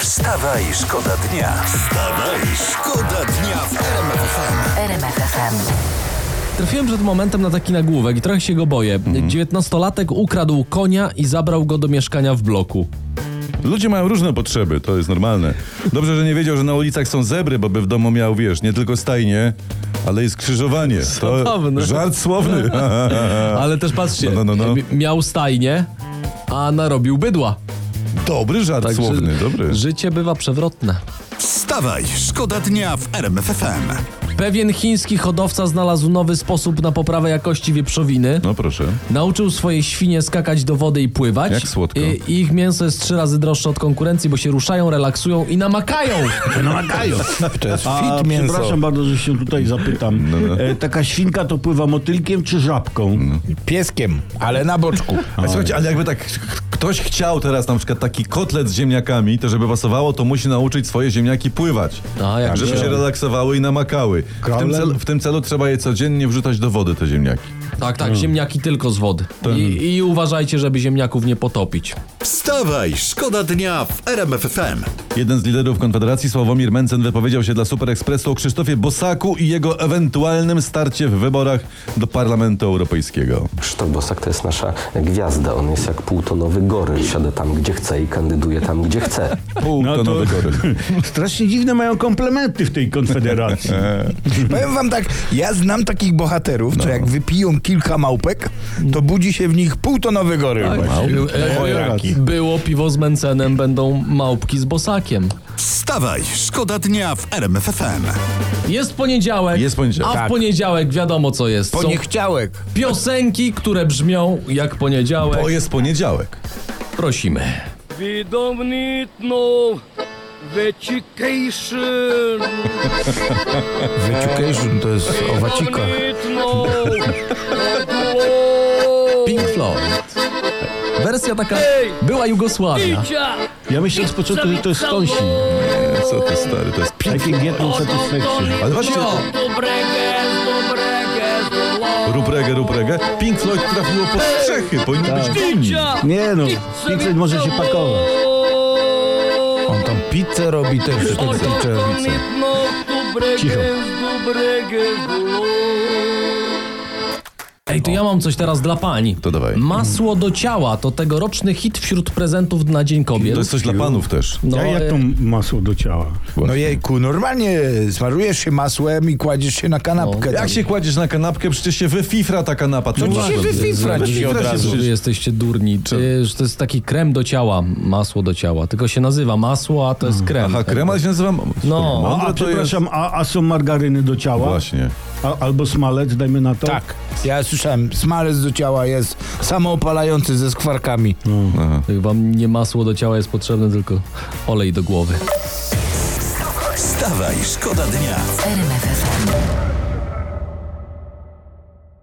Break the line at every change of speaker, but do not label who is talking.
Wstawaj, szkoda dnia. Wstawaj, szkoda dnia w RMF FM.
RMF FM.
Trafiłem przed momentem na taki nagłówek i trochę się go boję.
Mhm.
Dziewiętnastolatek ukradł konia i zabrał go do mieszkania w bloku.
Ludzie mają różne potrzeby, to jest normalne. Dobrze, że nie wiedział, że na ulicach są zebry, bo by w domu miał, wiesz, nie tylko stajnie, ale i skrzyżowanie.
Zabawne.
To żart słowny.
Ale też patrzcie,
No, no, no, no.
mi- miał stajnię, a narobił bydła.
Dobry żart
Także
słowny, dobry.
Życie bywa przewrotne.
Wstawaj, szkoda dnia w RMF FM.
Pewien chiński hodowca znalazł nowy sposób na poprawę jakości wieprzowiny.
No proszę.
Nauczył swoje świnie skakać do wody i pływać.
Jak słodko.
I, i ich mięso jest trzy razy droższe od konkurencji, bo się ruszają, relaksują i namakają.
Namagają.
To jest
A,
fit mięso.
przepraszam bardzo, że się tutaj zapytam. E, taka świnka to pływa motylkiem czy żabką?
Pieskiem, ale na boczku.
A słuchajcie, ale jakby tak k- ktoś chciał teraz na przykład taki kotlet z ziemniakami, to żeby pasowało, to musi nauczyć swoje ziemniaki pływać.
A, jak
żeby
się-
się relaksowały i namakały. W tym,
Królem?
celu, w tym celu trzeba je codziennie wrzucać do wody, te ziemniaki.
Tak,
Mm.
tak, ziemniaki tylko z wody. I, I uważajcie, żeby ziemniaków nie potopić.
Wstawaj, szkoda dnia w RMF FM.
Jeden z liderów Konfederacji, Sławomir Mencen, wypowiedział się dla Super Expressu o Krzysztofie Bosaku i jego ewentualnym starcie w wyborach do Parlamentu Europejskiego.
Krzysztof Bosak to jest nasza gwiazda. On jest jak półtonowy goryl. Siada tam, gdzie chce i kandyduje tam, gdzie chce.
Pół
No
to
to-
nowy goryl.
Strasznie dziwne mają komplementy w tej konfederacji.
Powiem wam tak, ja znam takich bohaterów,
No.
co jak wypiją kilka małpek, to budzi się w nich półtonowy goryl.
Tak.
E,
Bojaki.
Było piwo z Mencenem, będą małpki z Bosakiem.
Wstawaj, szkoda dnia w RMF FM.
Jest poniedziałek.
Jest poniedziałek.
A w
Tak.
poniedziałek wiadomo co jest. Są
Poniechciałek.
piosenki, które brzmią jak poniedziałek.
Bo jest poniedziałek.
Prosimy.
Widomnitno Vetication
Wyciukation to jest owacika.
Widomnitno
Pink Floyd. Wersja taka była Jugosławia.
Ja myślę z początku, że to jest Stąsi.
Nie, co ty stary, to jest pi...
Takie getną satysfakcje.
Ale właśnie, ruprege, ruprege, Pink Floyd trafiło pod strzechy, powinno być inni.
Nie no, Pink Floyd może się pakować.
On tam pizzę robi też. pizzę robi.
Cicho.
Ej, to ja mam coś teraz dla pani.
To dawaj.
Masło do ciała to tegoroczny hit wśród prezentów na Dzień Kobiet.
To jest coś dla panów też.
No,
Ja jak
e,
to masło do ciała?
No jejku, normalnie smarujesz się masłem i kładziesz się na
No.
kanapkę.
Jak
tam.
się kładziesz na kanapkę, przecież się wyfifra ta kanapa. No
się wyfifra ci od razu.
Wy jesteście durni. Ty, że to jest taki krem do ciała, masło do ciała. Tylko się nazywa masło, a to jest krem.
Aha, krema się nazywa...
No.
A,
Mądre
a
to jest...
przepraszam, a, a są margaryny do ciała?
Właśnie.
A, albo smalec, dajmy na to?
Tak. Ja słyszałem, smalec do ciała jest samoopalający ze skwarkami.
Wam nie masło do ciała jest potrzebne, tylko olej do głowy.
Wstawaj, szkoda dnia.
RMF FM.